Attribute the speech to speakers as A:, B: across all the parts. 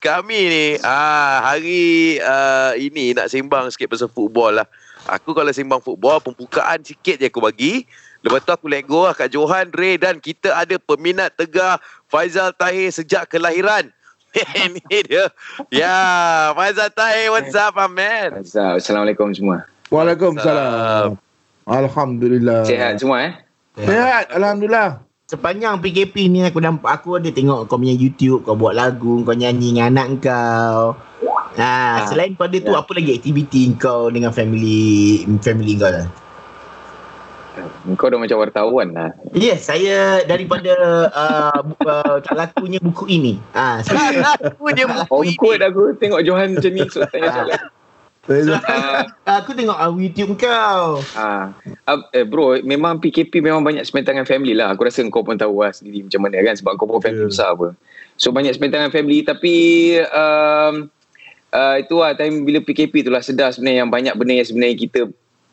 A: kami ni ah hari uh, ini nak sembang sikit pasal football lah. Aku kalau sembang football pembukaan sikit je aku bagi. Lepas tu aku let go lah Kak Johan, Ray dan kita ada peminat tegar Faizal Tahir sejak kelahiran. Ini dia. Ya, Faizal Tahir, what's up, my man?
B: Azhar, Assalamualaikum semua.
C: Waalaikumsalam. Alhamdulillah.
B: Sehat semua eh?
D: Ya.
C: Sehat. Alhamdulillah.
D: Sepanjang PKP ni aku nampak aku ada tengok kau punya YouTube, kau buat lagu, kau nyanyi dengan anak kau. Nah,
B: Ah,
D: ha, selain pada tu
B: ya.
D: apa lagi aktiviti kau dengan family family kau lah?
B: Kau dah macam wartawan lah.
D: Yes, saya daripada uh, bu- uh, tak lakunya buku ini. Ah, saya
A: Aku dia
B: Awkward aku tengok Johan macam ni so tanya soalan.
C: Faizal.
B: Ah,
D: aku tengok uh, YouTube kau.
B: ah. Ah, eh, bro, memang PKP memang banyak spend time dengan family lah. Aku rasa kau pun tahu lah sendiri macam mana kan sebab kau pun family
C: Yeah.
B: besar apa. So banyak spend time dengan family tapi um, uh, itu lah time bila PKP tu lah sedar sebenarnya yang banyak benda yang sebenarnya kita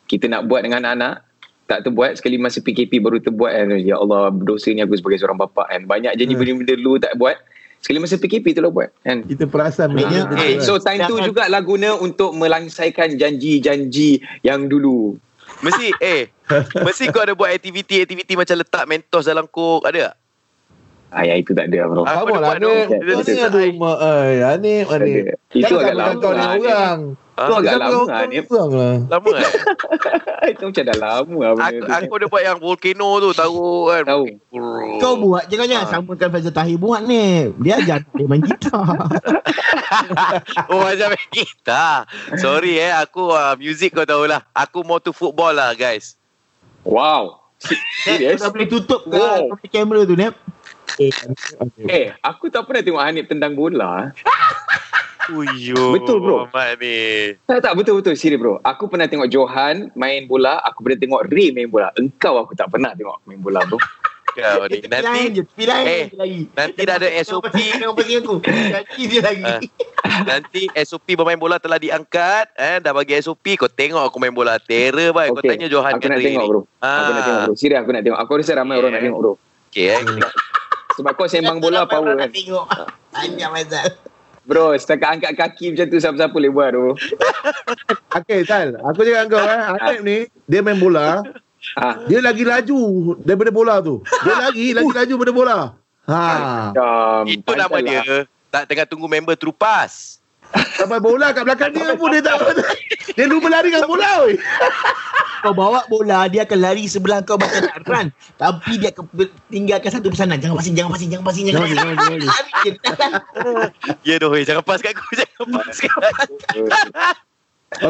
B: kita nak buat dengan anak-anak tak terbuat sekali masa PKP baru terbuat kan ya Allah berdosa ni aku sebagai seorang bapa kan banyak jadi
C: Hmm.
B: benda-benda dulu tak buat sekali masa PKP tu lah buat kan
C: Kita perasan benda
D: Maknanya-
C: tu
B: Okay,
C: kan.
B: Eh, so time tu jugalah guna untuk melangsaikan janji-janji yang dulu.
A: Mesti eh mesti kau ada buat aktiviti-aktiviti macam letak mentos dalam kok ada tak?
B: Ah, yang itu tak ada
A: Ah,
B: bro. Ah,
C: Apa
A: Aku ada
C: lah
A: buat dong.
C: Anip? Kau ni ada rumah. eh, Ay, Anip, Anip.
B: itu
C: Jangan
B: agak
C: samakan
B: lama.
C: Kau dengan
B: lah, Nip.
C: orang.
A: Ah,
B: Itu agak
C: Jangan
B: lama
C: kau
B: lah, Nip.
C: Orang lah.
A: Lama eh?
B: itu macam dah lama lah benda
A: Aku,
B: tu.
A: aku ada buat yang volcano tu tahu kan.
B: Tahu.
A: Brrr.
D: Kau buat je kau jangan
A: Ah.
D: samakan Faizal Tahir buat ni. Dia ajar dia main gitar.
A: Oh macam main kita. Sorry eh aku uh, music kau tahulah. Aku more to football lah guys.
B: Wow.
D: Nep,
B: Serius?
D: kau dah boleh tutup ke
B: Wow.
D: kau punya kamera tu, Nep? Eh,
B: Eh, aku tak pernah tengok Hanif tendang bola.
A: Uyo.
B: Betul, bro.
A: Mat ni.
B: Tak, tak. Betul-betul. Serius, bro. Aku pernah tengok Johan main bola. Aku pernah tengok Ray main bola. Engkau aku tak pernah tengok main bola, bro.
A: Kau ni.
D: tepi lain
A: Nanti
D: je, tepi lain
A: eh,
D: je lagi.
A: nanti dah ada
D: Jangan
A: SOP.
D: pasang- Jangan pasang aku. Kaki dia lagi.
A: Ah. nanti SOP bermain bola telah diangkat eh dah bagi SOP kau tengok aku main bola terror bai. Kau
B: Okey,
A: Eh, tanya Johan
B: Aku nak
A: Henry
B: tengok,
A: ni.
B: bro.
A: Ah.
B: Aku nak tengok, bro. Serius aku nak tengok. Aku rasa ramai orang nak tengok, bro.
A: Okey eh.
B: Sebab kau sembang bola
D: Kenapa
B: power
D: orang
B: kan.
D: nak Tengok. Tanya Faizal.
B: Bro, setakat angkat kaki macam tu siapa-siapa boleh buat tu.
C: Okay, Tal. Aku cakap dengan kau eh. Anip ni, dia main bola.
B: Ha.
C: Dia lagi laju daripada bola tu. Dia lagi, lagi laju daripada bola. Ha.
B: Um,
A: Itu nama dia. Tak tengah tunggu member terupas.
C: Sampai bola kat belakang dia pun dia tak Dia lupa lari dengan bola oi.
D: Kau bawa bola, dia akan lari sebelah kau macam nak run. Tapi dia akan pe- tinggalkan satu pesanan. Jangan pasing, jangan pasing, jangan pasing, jangan pasing. Lari je.
A: Ya doh, eh, jangan pas kat aku, jangan pas kat aku.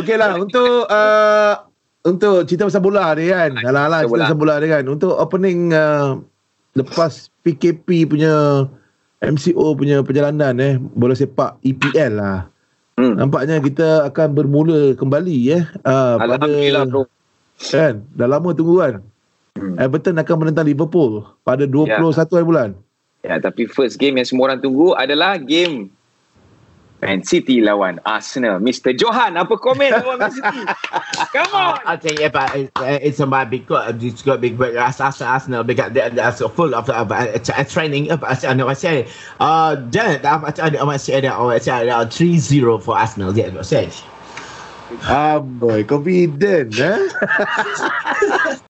C: Okey lah untuk uh, untuk cerita pasal bola ni kan. Alah alah
B: Pasal
C: cerita
B: bola.
C: pasal bola ni kan. Untuk opening uh, lepas PKP punya MCO punya perjalanan eh bola sepak EPL lah.
B: Hmm.
C: Nampaknya kita akan bermula kembali eh uh,
B: Alhamdulillah bro.
C: kan dah lama tunggu kan.
B: Hmm.
C: Everton akan menentang Liverpool pada 21 hari bulan.
B: Ya, tapi first game yang semua orang tunggu adalah game Man City lawan Arsenal. Mr. Johan, apa komen lawan Man City? Come on!
D: I think if I, it's about because it's got big but as as Arsenal because they they are so full of of uh, tra- training up as I know I say uh then I'm I say that uh, I say that 3-0 for Arsenal yeah I say
C: Amboi, confident eh.